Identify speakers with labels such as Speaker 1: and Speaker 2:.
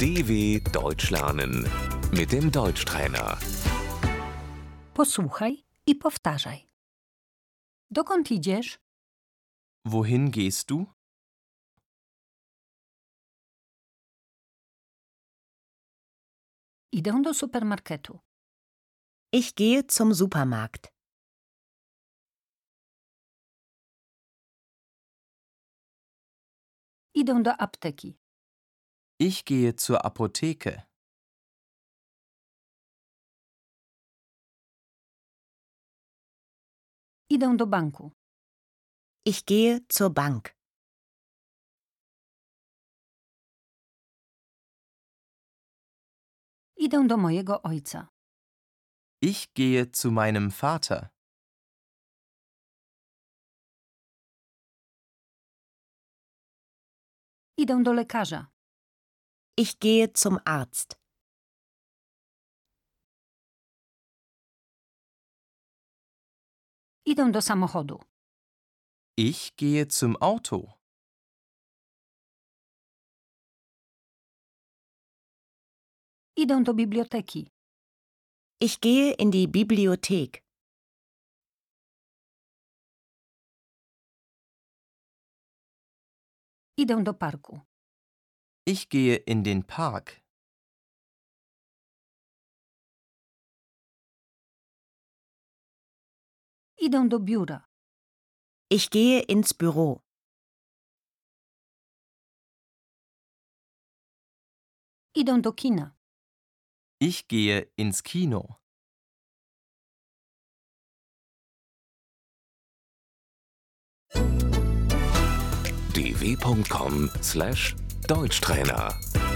Speaker 1: DW Deutsch lernen mit dem Deutschtrainer.
Speaker 2: Posłuchaj i powtarzaj. Dokąd idziesz?
Speaker 3: Wohin gehst du?
Speaker 2: Idę do supermarketu.
Speaker 4: Ich gehe zum Supermarkt.
Speaker 2: Idę do apteki.
Speaker 3: Ich gehe zur Apotheke.
Speaker 2: Idę do banku.
Speaker 4: Ich gehe zur Bank.
Speaker 2: Idę do mojego ojca.
Speaker 3: Ich gehe zu meinem Vater.
Speaker 2: Idę do lekarza.
Speaker 4: Ich gehe zum Arzt.
Speaker 2: Idę do samochodu.
Speaker 3: Ich gehe zum Auto.
Speaker 2: Idę do biblioteki.
Speaker 4: Ich gehe in die Bibliothek.
Speaker 2: Idę do parku.
Speaker 3: Ich gehe in den Park.
Speaker 2: Idę do biura.
Speaker 4: Ich gehe ins Büro.
Speaker 2: Idę do kina.
Speaker 3: Ich gehe ins Kino.
Speaker 1: dw.com/deutschtrainer